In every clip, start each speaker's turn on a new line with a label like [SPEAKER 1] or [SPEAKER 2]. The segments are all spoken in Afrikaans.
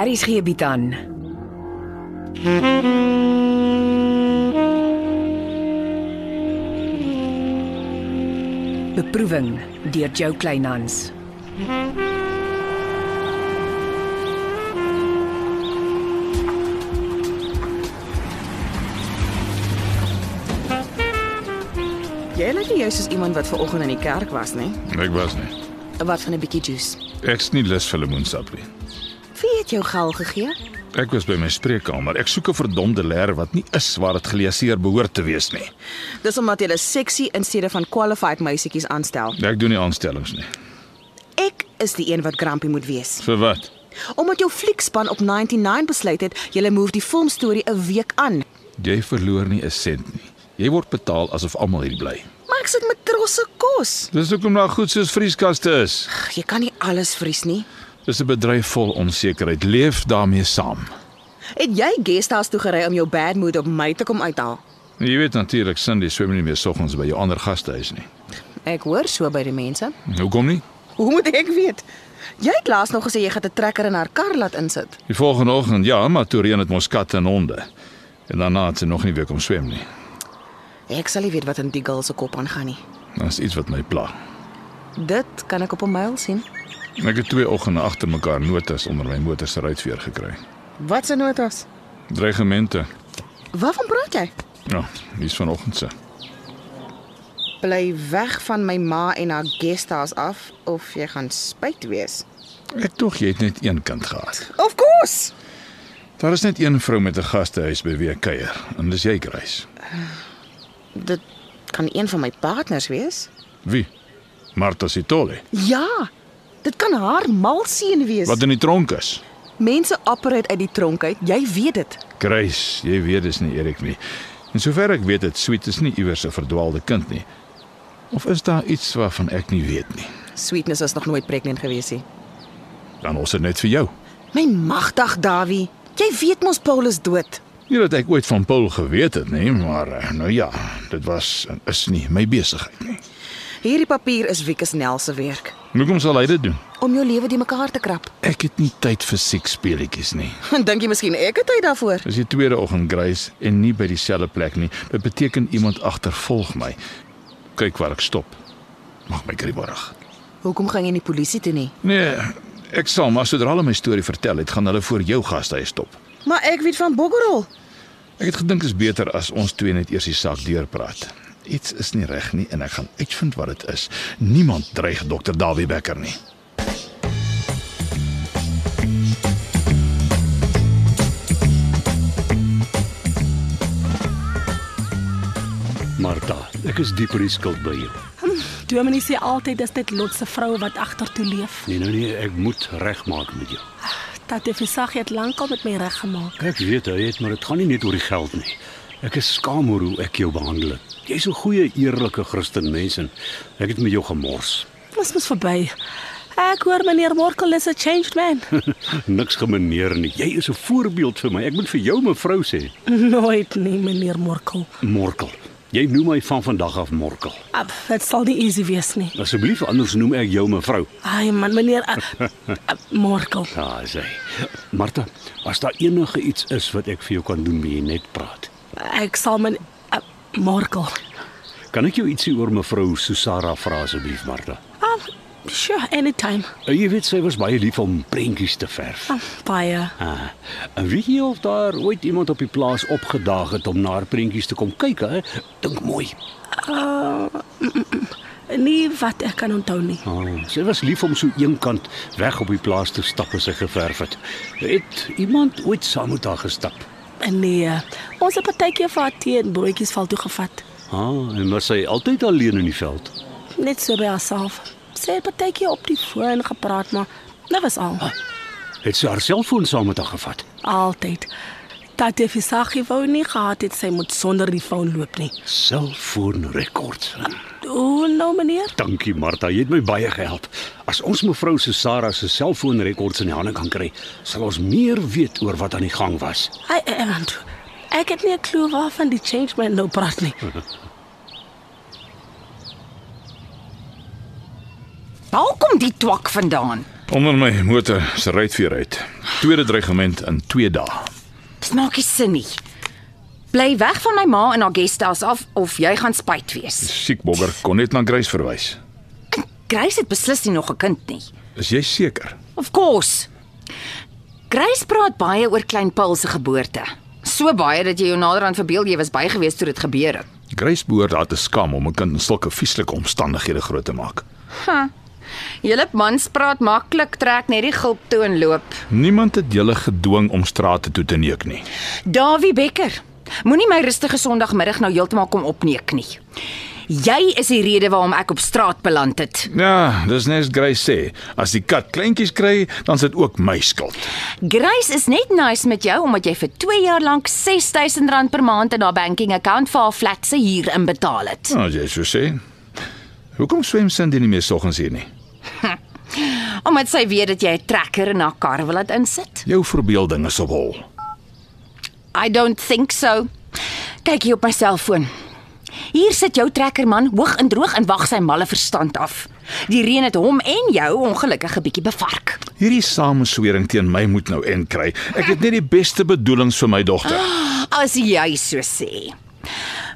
[SPEAKER 1] Aries gee bied aan. Beproeving deur Jo Kleinhans.
[SPEAKER 2] Jy lyk nie jy's soos iemand wat ver oggend in die kerk was nie.
[SPEAKER 3] Ek was nie.
[SPEAKER 2] Wat van 'n bietjie juice?
[SPEAKER 3] Ek's nie lus vir lemoensap nie.
[SPEAKER 2] Wie het jou gal gegee?
[SPEAKER 3] Ek was by my spreekkamer. Ek soek 'n verdomde leer wat nie is waar dit geleaseer behoort te wees nie.
[SPEAKER 2] Dis omdat jy 'n seksie in steede van qualified meisietjies aanstel.
[SPEAKER 3] Ek doen nie aanstellings nie.
[SPEAKER 2] Ek is die een wat grampie moet wees.
[SPEAKER 3] Vir wat?
[SPEAKER 2] Omdat jou fliekspan op 99 besluit het jy move die filmstorie 'n week aan.
[SPEAKER 3] Jy verloor nie 'n sent nie. Jy word betaal asof almal hier bly.
[SPEAKER 2] Maar ek sit met trosse kos.
[SPEAKER 3] Dis hoekom daar goed soos vrieskaste is.
[SPEAKER 2] Ag, Jy kan nie alles vries nie.
[SPEAKER 3] Dis 'n bedryf vol onsekerheid. Leef daarmee saam.
[SPEAKER 2] Het jy guesthouse toe gery om jou bad mood op my te kom uithaal?
[SPEAKER 3] En Jy weet natuurlik Cindy swem nie meer soggens by jou ander gastehuis nie.
[SPEAKER 2] Ek hoor so by die mense.
[SPEAKER 3] Hoekom nie?
[SPEAKER 2] Hoe moet ek weet? Jy het laas nog gesê jy gaan 'n trekker in haar kar laat insit.
[SPEAKER 3] Die volgende oggend, ja, maar toe reën dit mos katte en honde. En daarna het sy nog nie weer kom swem nie.
[SPEAKER 2] Ek sal nie weet wat in die girl se kop aangaan nie.
[SPEAKER 3] Dit is iets wat my pla.
[SPEAKER 2] Dit kan ek op 'n mail sien.
[SPEAKER 3] Ek het twee oggende agter mekaar notas onder my motor se ruitveer gekry.
[SPEAKER 2] Wat se notas?
[SPEAKER 3] Dreigemente.
[SPEAKER 2] Waarvan praat jy?
[SPEAKER 3] Ja, dis vanoggend se.
[SPEAKER 2] Bly weg van my ma en haar guesthouse af of jy gaan spyt wees.
[SPEAKER 3] Ek tog jy het net een kind gehad.
[SPEAKER 2] Of course.
[SPEAKER 3] Daar is net een vrou met 'n gastehuis by wie ek kuier, en dis jy, Grace.
[SPEAKER 2] Dit kan een van my partners wees.
[SPEAKER 3] Wie? Martha Sitole.
[SPEAKER 2] Ja. Dit kan haar mal seën wees.
[SPEAKER 3] Wat in die tronk is.
[SPEAKER 2] Mense operate uit die tronk uit. Jy weet dit.
[SPEAKER 3] Grace, jy weet dis nie Erik nie. En sover ek weet, dit sweet is nie iewers 'n verdwaalde kind nie. Of is daar iets waarvan ek nie weet nie?
[SPEAKER 2] Sweetness was nog nooit pregnant gewees nie.
[SPEAKER 3] Dan ons dit net vir jou.
[SPEAKER 2] My magtig, Dawie. Jy weet mos Paul is dood.
[SPEAKER 3] Nie dat ek ooit van Paul geweet het nie, maar eh, nou ja, dit was en is nie my besigheid nie.
[SPEAKER 2] Hierdie papier is Wieke Snell se werk
[SPEAKER 3] Hoekom sal hy dit doen?
[SPEAKER 2] om jou lewe die mekaar te krap.
[SPEAKER 3] Ek het nie tyd vir siek speletjies nie.
[SPEAKER 2] Dink jy miskien ek het tyd daarvoor?
[SPEAKER 3] Dis die tweede oggend Grace en nie by dieselfde plek nie. Dit beteken iemand agtervolg my. Kyk waar ek stop. Mag my kriebelig.
[SPEAKER 2] Hoekom gaan jy nie polisie toe nie?
[SPEAKER 3] Nee, ek sal maar sodra hulle my storie vertel het, gaan hulle voor jou gastehuis stop.
[SPEAKER 2] Maar ek weet van Boggerol.
[SPEAKER 3] Ek het gedink dit is beter as ons twee net eers die saak deurpraat. Iets is nie reg nie en ek gaan uitvind wat dit is. Niemand dreig dokter Dawie Becker nie.
[SPEAKER 4] Martha, ek is diep in die skuld by jou.
[SPEAKER 5] Dominee sê altyd dis dit lot se vroue wat agtertoe leef.
[SPEAKER 4] Nee, nee, nee, ek moet regmaak met jou.
[SPEAKER 5] Tat Visaggie het lankal met my reg gemaak.
[SPEAKER 4] Ek weet hy het, maar dit gaan nie net oor die geld nie. Ek is skaam oor hoe ek jou behandel het. Jy's 'n goeie, eerlike Christen mens en ek het met jou gemors.
[SPEAKER 5] Ons mos verby. Ek hoor meneer Morkel is 'n changed man.
[SPEAKER 4] Niks gemeeneer nie. Jy is 'n voorbeeld vir my. Ek moet vir jou mevrou sê,
[SPEAKER 5] Nooit nie meneer Morkel.
[SPEAKER 4] Morkel. Jy noem my van vandag af Morkel.
[SPEAKER 5] Ab, dit sal nie easy wees nie.
[SPEAKER 4] Asseblief anders noem ek jou mevrou.
[SPEAKER 5] Ai man, meneer uh, uh, Morkel.
[SPEAKER 4] Ja, sê. Martha, as daar enige iets is wat ek vir jou kan doen, moet jy net praat.
[SPEAKER 5] Ek sal men uh, Morkel.
[SPEAKER 4] Kan ek jou ietsie oor mevrou Susara vra asseblief, Martha?
[SPEAKER 5] Ah, sure, anytime.
[SPEAKER 4] En jy weet sy was baie lief om prentjies te verf.
[SPEAKER 5] Ah, baie.
[SPEAKER 4] Ah, en weet jy of daar ooit iemand op die plaas opgedaag het om na haar prentjies te kom kyk, hè? Dink mooi.
[SPEAKER 5] Nie wat ek kan onthou nie.
[SPEAKER 4] Ah, sy was lief om so eenkant weg op die plaas te stap as sy geverf het. Het iemand ooit saam met haar gestap?
[SPEAKER 5] Nee, eh, ons het partykeer vir haar tee en broodjies val toe gevat.
[SPEAKER 4] Ah, en was sy altyd alleen in die veld?
[SPEAKER 5] Net so by haarself. Sy het partykeer op die foon gepraat, maar dit was al.
[SPEAKER 4] Het sy haar selfoon saam met haar gevat?
[SPEAKER 5] Altyd. Tatie Visaggie wou nie gehad het sy moet sonder die foon loop nie.
[SPEAKER 4] Selfoonrekords.
[SPEAKER 5] O, nou meneer.
[SPEAKER 4] Dankie Martha, jy het my baie gehelp. As ons mevrou Susara se selfoonrekords in die hande kan kry, sal ons meer weet oor wat aan die gang was.
[SPEAKER 5] Hy eh, want ek het nie 'n klou waarvan die change man nou praat nie.
[SPEAKER 1] Waar kom die twak vandaan?
[SPEAKER 3] Onder my motor se ruitveer uit. Tweede dreigement in 2 dae.
[SPEAKER 6] Dit maak nie sin nie. Bly weg van my ma en haar guesthouse af of jy gaan spyt wees.
[SPEAKER 3] Siek Bogger kon net na Grace verwys.
[SPEAKER 6] Grace het beslis nie nog 'n kind nie.
[SPEAKER 3] Is jy seker?
[SPEAKER 6] Of course. Grace praat baie oor klein Paul se geboorte. So baie dat jy jou naderhand verbeel jy was by gewees toe dit gebeur het.
[SPEAKER 3] Grace behoort daar te skam om 'n kind in sulke vieslike omstandighede groot te maak.
[SPEAKER 6] Julle mans praat maklik, trek net die gulp toe en loop.
[SPEAKER 3] Niemand het julle gedwing om strate toe te neek nie.
[SPEAKER 6] Dawie Becker, moenie my rustige Sondagmiddag nou heeltemal kom opneek nie. Jy is die rede waarom ek op straat beland het.
[SPEAKER 3] Ja, dis net wat Grace sê, as die kat kleintjies kry, dan is dit ook my skuld.
[SPEAKER 6] Grace is net nice met jou omdat jy vir 2 jaar lank R6000 per maand in haar banking account vir haar flat se huur inbetaal het.
[SPEAKER 3] Nou, as jy so sê. Hoekom swem Cindy nie meer soggens hier nie?
[SPEAKER 6] Omdat sy weet dat jy 'n trekker in haar kar wil laat insit.
[SPEAKER 3] Jou verbeelding is op hol.
[SPEAKER 6] I don't think so. Kyk hier op my selfoon. Hier sit jou trekkerman hoog en droog en wag sy malle verstand af. Die reën het hom en jou ongelukkige bietjie bevark.
[SPEAKER 3] Hierdie sameswering teen my moet nou end kry. Ek het net die beste bedoelings vir my dogter.
[SPEAKER 6] As jy so sê.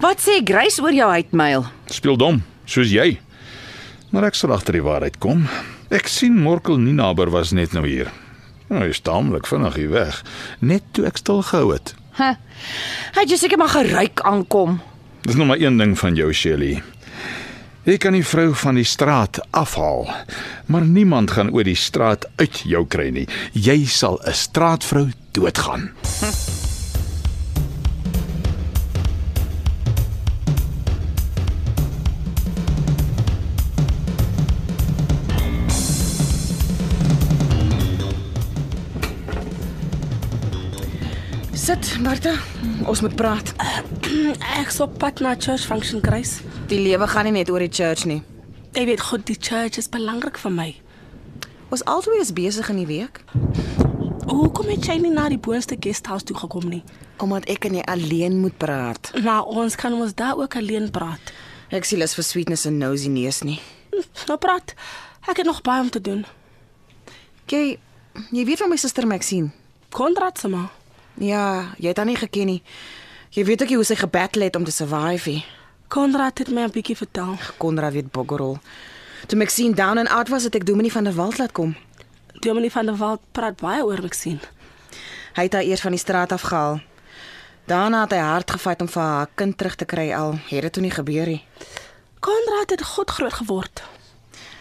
[SPEAKER 6] Wat sê Grace oor jou uitmail?
[SPEAKER 3] Speel dom, soos jy. Maar ek sal agter die waarheid kom. Ek sien Morkel Ninaber was net nou hier. Nou, hy is taamlik vinnig hier weg, net toe ek stil gehou het.
[SPEAKER 6] Huh. Hy het jou seker maar geruik aankom.
[SPEAKER 3] Dis nog maar een ding van jou, Shelley. Jy kan die vrou van die straat afhaal, maar niemand gaan oor die straat uit jou kry nie. Jy sal 'n straatvrou doodgaan.
[SPEAKER 2] Sit, Martha. Ons moet praat.
[SPEAKER 5] Ek's op pad na church function, Grace.
[SPEAKER 2] Die lewe gaan nie net oor die church nie.
[SPEAKER 5] Jy weet goed, die church is belangrik vir my.
[SPEAKER 2] Ons albei is besig in die week
[SPEAKER 5] Hoekom het jy nie na die boonste guesthouse toe gekom nie?
[SPEAKER 2] omdat ek en jy alleen moet praat.
[SPEAKER 5] Maar ons kan ons daar ook alleen praat.
[SPEAKER 2] Ek sien lus vir sweetness en nosy neus nie.
[SPEAKER 5] Nou praat. Ek het nog baie om te doen.
[SPEAKER 2] Jy jy weet van my suster Maxine.
[SPEAKER 5] Konrad se ma.
[SPEAKER 2] Ja, jy het haar nie geken nie. Jy weet ook nie hoe sy gebattle het om te survive nie.
[SPEAKER 5] Konrad het my 'n bietjie vertel.
[SPEAKER 2] Konrad weet boggerol. Toe Maxine down and out was, het ek Dominie van der Walt laat kom.
[SPEAKER 5] Dominee van der Walt praat baie oor my sien.
[SPEAKER 2] Hy het haar eers van die straat af gehaal. Daarna het hy hard gefight om vir haar kind terug te kry al. Het dit toe nie gebeur nie.
[SPEAKER 5] Konrad het goed groot geword.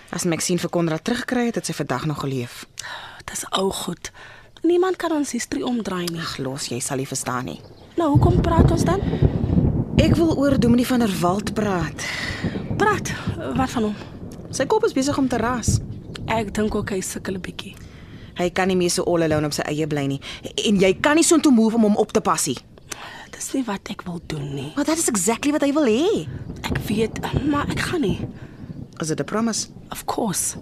[SPEAKER 2] As Maxine vir Konrad teruggekry het, het sy vandag nog geleef.
[SPEAKER 5] Dis ou goed. Niemand kan ons historie omdraai nie.
[SPEAKER 2] Glos, jy sal nie verstaan nie.
[SPEAKER 5] Nou hoekom praat ons dan?
[SPEAKER 2] Ek wil oor Dominie van der Walt praat.
[SPEAKER 5] Praat. eh, Wat van hom?
[SPEAKER 2] Sy kop is besig om te ras.
[SPEAKER 5] Ek dink ook hy sukkel 'n bietjie.
[SPEAKER 2] Hy kan nie meer so all alone op sy eie bly nie en jy kan nie so intoe move om hom op te pas nie.
[SPEAKER 5] Dis nie wat ek wil doen nie.
[SPEAKER 2] Maar dit is exactly wat hy wil hê.
[SPEAKER 5] Ek weet, maar ek gaan nie.
[SPEAKER 2] Is dit 'n promise?
[SPEAKER 5] Of course.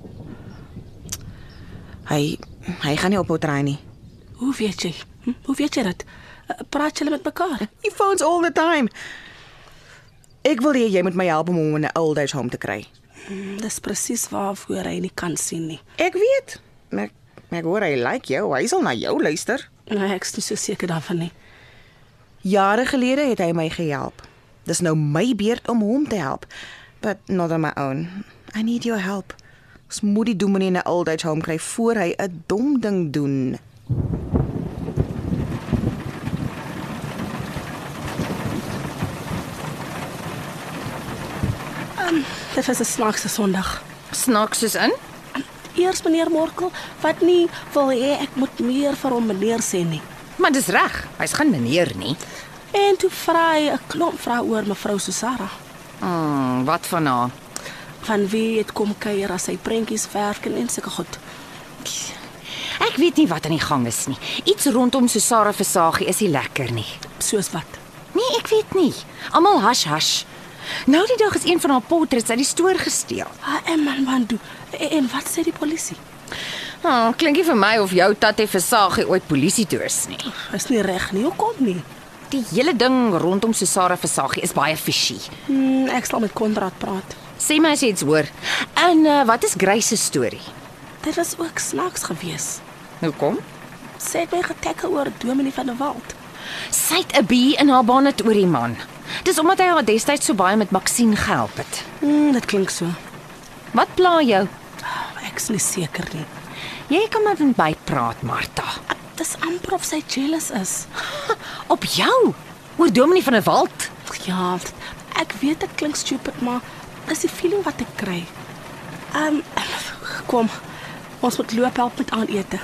[SPEAKER 2] Hy hy gaan nie ophou try nie.
[SPEAKER 5] Hoe weet jy? Hm? Hoe weet jy dit? Eh, Praat julle met mekaar?
[SPEAKER 2] He phones all the time. Ek wil hê jy moet my help om hom in 'n old age home te kry.
[SPEAKER 5] Hm, Dis presies waarvoor hy nie kan sien nie.
[SPEAKER 2] Ek weet. Maar maar ek hoor hy like jou. Hy sal na jou luister.
[SPEAKER 5] Nou ek's nie so seker daarvan nie.
[SPEAKER 2] Jare gelede het hy my gehelp. Dis nou my beurt om hom te help. But not on my own. I need your help. Ons moet die dominee in 'n old age home kry voor hy 'n dom ding doen.
[SPEAKER 5] Dit was 'n snaakse Sondag.
[SPEAKER 6] Snaaks soos in?
[SPEAKER 5] Eers meneer Morkel wat nie wil hê ek moet meer vir hom meneer sê nie.
[SPEAKER 6] Maar dis reg. Hy's geen meneer nie.
[SPEAKER 5] En toe vra hy 'n klomp vrae oor mevrou Susara.
[SPEAKER 6] Mm, wat van haar?
[SPEAKER 5] Van wie het kom kuier as hy prentjies verf en en sulke goed.
[SPEAKER 6] Ek weet nie wat aan die gang is nie. Iets rondom Susara Versagie is nie lekker nie.
[SPEAKER 5] Soos wat.
[SPEAKER 6] Nee, ek weet nie. Almal hash hash. Nou die dag is een van haar portrets uit die stoor gesteel.
[SPEAKER 5] Ah, en man Bandu. En, en wat sê die polisie?
[SPEAKER 6] Oh, klink nie vir my of jou tatie Versagie ooit polisie toe is nie.
[SPEAKER 5] Is nie reg nie. Hoekom nie?
[SPEAKER 6] Die hele ding rondom Susara Versagie is baie fishy.
[SPEAKER 5] Hmm, ek sal met Konrad praat.
[SPEAKER 6] Sê my as jy iets hoor. eh, En uh, wat is Grace se storie?
[SPEAKER 5] Dit was ook snaaks geweest.
[SPEAKER 6] Hoekom?
[SPEAKER 5] Sy het my getackel oor Dominee van der Walt.
[SPEAKER 7] Sy het 'n bie in haar bonnet oor die man. Dis omdat hy haar destyds so baie met Maxine gehelp het.
[SPEAKER 5] Mm, dit klink so.
[SPEAKER 7] Wat pla jou?
[SPEAKER 5] Ek's nie seker nie.
[SPEAKER 7] Jy kan met hom bypraat, Martha.
[SPEAKER 5] Ek, dis amper of sy jealous is.
[SPEAKER 7] Op jou. Oor Dominee van der Walt.
[SPEAKER 5] Ja, ek weet dit klink stupid, maar dis die feeling wat ek kry. Ehm um, kom. Ons moet loop help met aanete.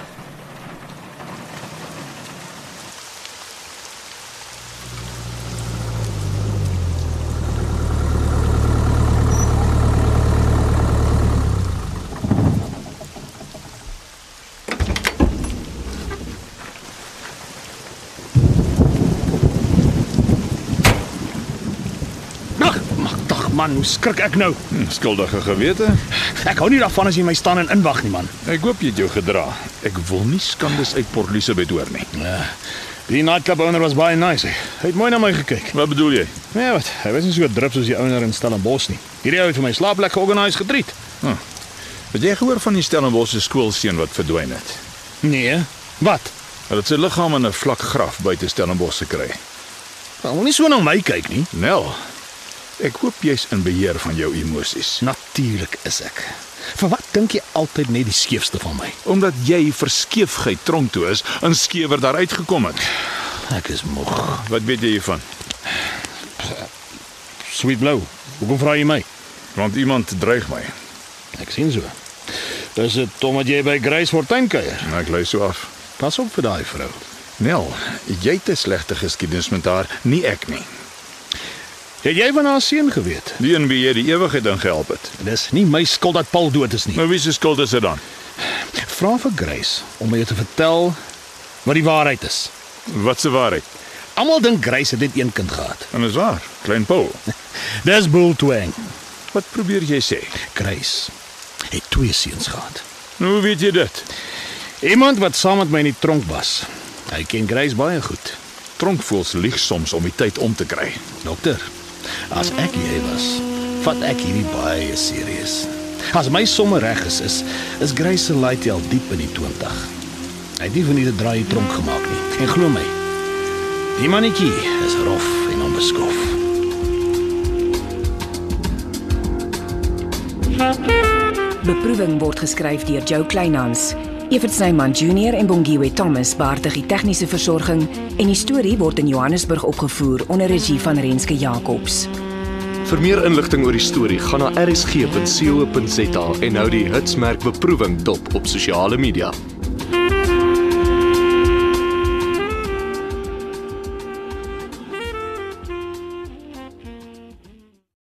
[SPEAKER 4] Dag, mag dag man, hoe skrik ek nou.
[SPEAKER 3] Hm, Skuldige gewete.
[SPEAKER 4] Ek hou nie daarvan as jy my staan en inwag nie man.
[SPEAKER 3] Ek hoop jy het jou gedra. Ek wil nie skandes uit Port Elizabeth hoor nie.
[SPEAKER 4] Ja. Die nightclub owner was baie nice. He. Hy het mooi na my gekyk.
[SPEAKER 3] Wat bedoel jy?
[SPEAKER 4] Nee, wat? Hy was nie so drup soos die owner in Stellenbosch nie. Hierdie ou het vir my slaapplek georganiseer gedriet.
[SPEAKER 3] Het jy gehoor van die Stellenbosch se skoolseun wat verdwyn het?
[SPEAKER 4] Nee. Wat?
[SPEAKER 3] Hulle het sy liggaam in 'n vlak graf buite Stellenbosch gekry.
[SPEAKER 4] Hy wil nie so na my kyk nie.
[SPEAKER 3] Nel. Ek hoop jy's in beheer van jou emosies,
[SPEAKER 4] Natuurlik is ek. Vir wat dink jy altyd net die skeefste van my?
[SPEAKER 3] omdat jy verskeefheid tronk toe is en skewer daar uitgekom het.
[SPEAKER 4] Ek is moeg.
[SPEAKER 3] Wat weet jy hiervan?
[SPEAKER 4] Sweet blou. Hoekom vra jy my?
[SPEAKER 3] Want iemand dreig my.
[SPEAKER 4] Ek sien so. Dis dit omdat jy by Grace Fortuin kuier.
[SPEAKER 3] En Nou, ek lei so af.
[SPEAKER 4] Pas op vir daai vrou.
[SPEAKER 3] Nel, jy het 'n slegte geskiedenis met haar, nie ek nie.
[SPEAKER 4] Het jy van haar seun geweet?
[SPEAKER 3] Die een wie jy die ewigheid ingehelp het.
[SPEAKER 4] Dis nie my skuld dat Paul dood is nie.
[SPEAKER 3] Nou wie se skuld is dit dan?
[SPEAKER 4] Vra vir Grace om my te vertel wat die waarheid is.
[SPEAKER 3] Wat se waarheid?
[SPEAKER 4] Almal dink Grace het net een kind gehad.
[SPEAKER 3] En is waar, klein Paul.
[SPEAKER 4] Dis bulltwang.
[SPEAKER 3] Wat probeer jy sê?
[SPEAKER 4] Grace het twee seuns gehad.
[SPEAKER 3] Nou hoe weet jy dit?
[SPEAKER 4] Iemand wat saam met my in die tronk was. Hy ken Grace baie goed.
[SPEAKER 3] Tronkvoels lieg soms om die tyd om te kry.
[SPEAKER 4] Dokter, as ek jy was, vat ek hierdie baie serieus. As my somme reg is, is is Grace se laaitie al diep in die 20. Hy het nie van hierdie draai tronk gemaak nie. En glo my, die mannetjie is rof en onbeskof.
[SPEAKER 6] Beproeving word geskryf deur Jo Kleinhans. Evert Snyman Junior en Bongwe Thomas baartig die tegniese versorging en die storie word in Johannesburg opgevoer onder regie van Renske Jacobs.
[SPEAKER 8] Vir meer inligting oor die storie, gaan na rsg.co.za en hou die hitsmerk beproewing dop op sosiale media.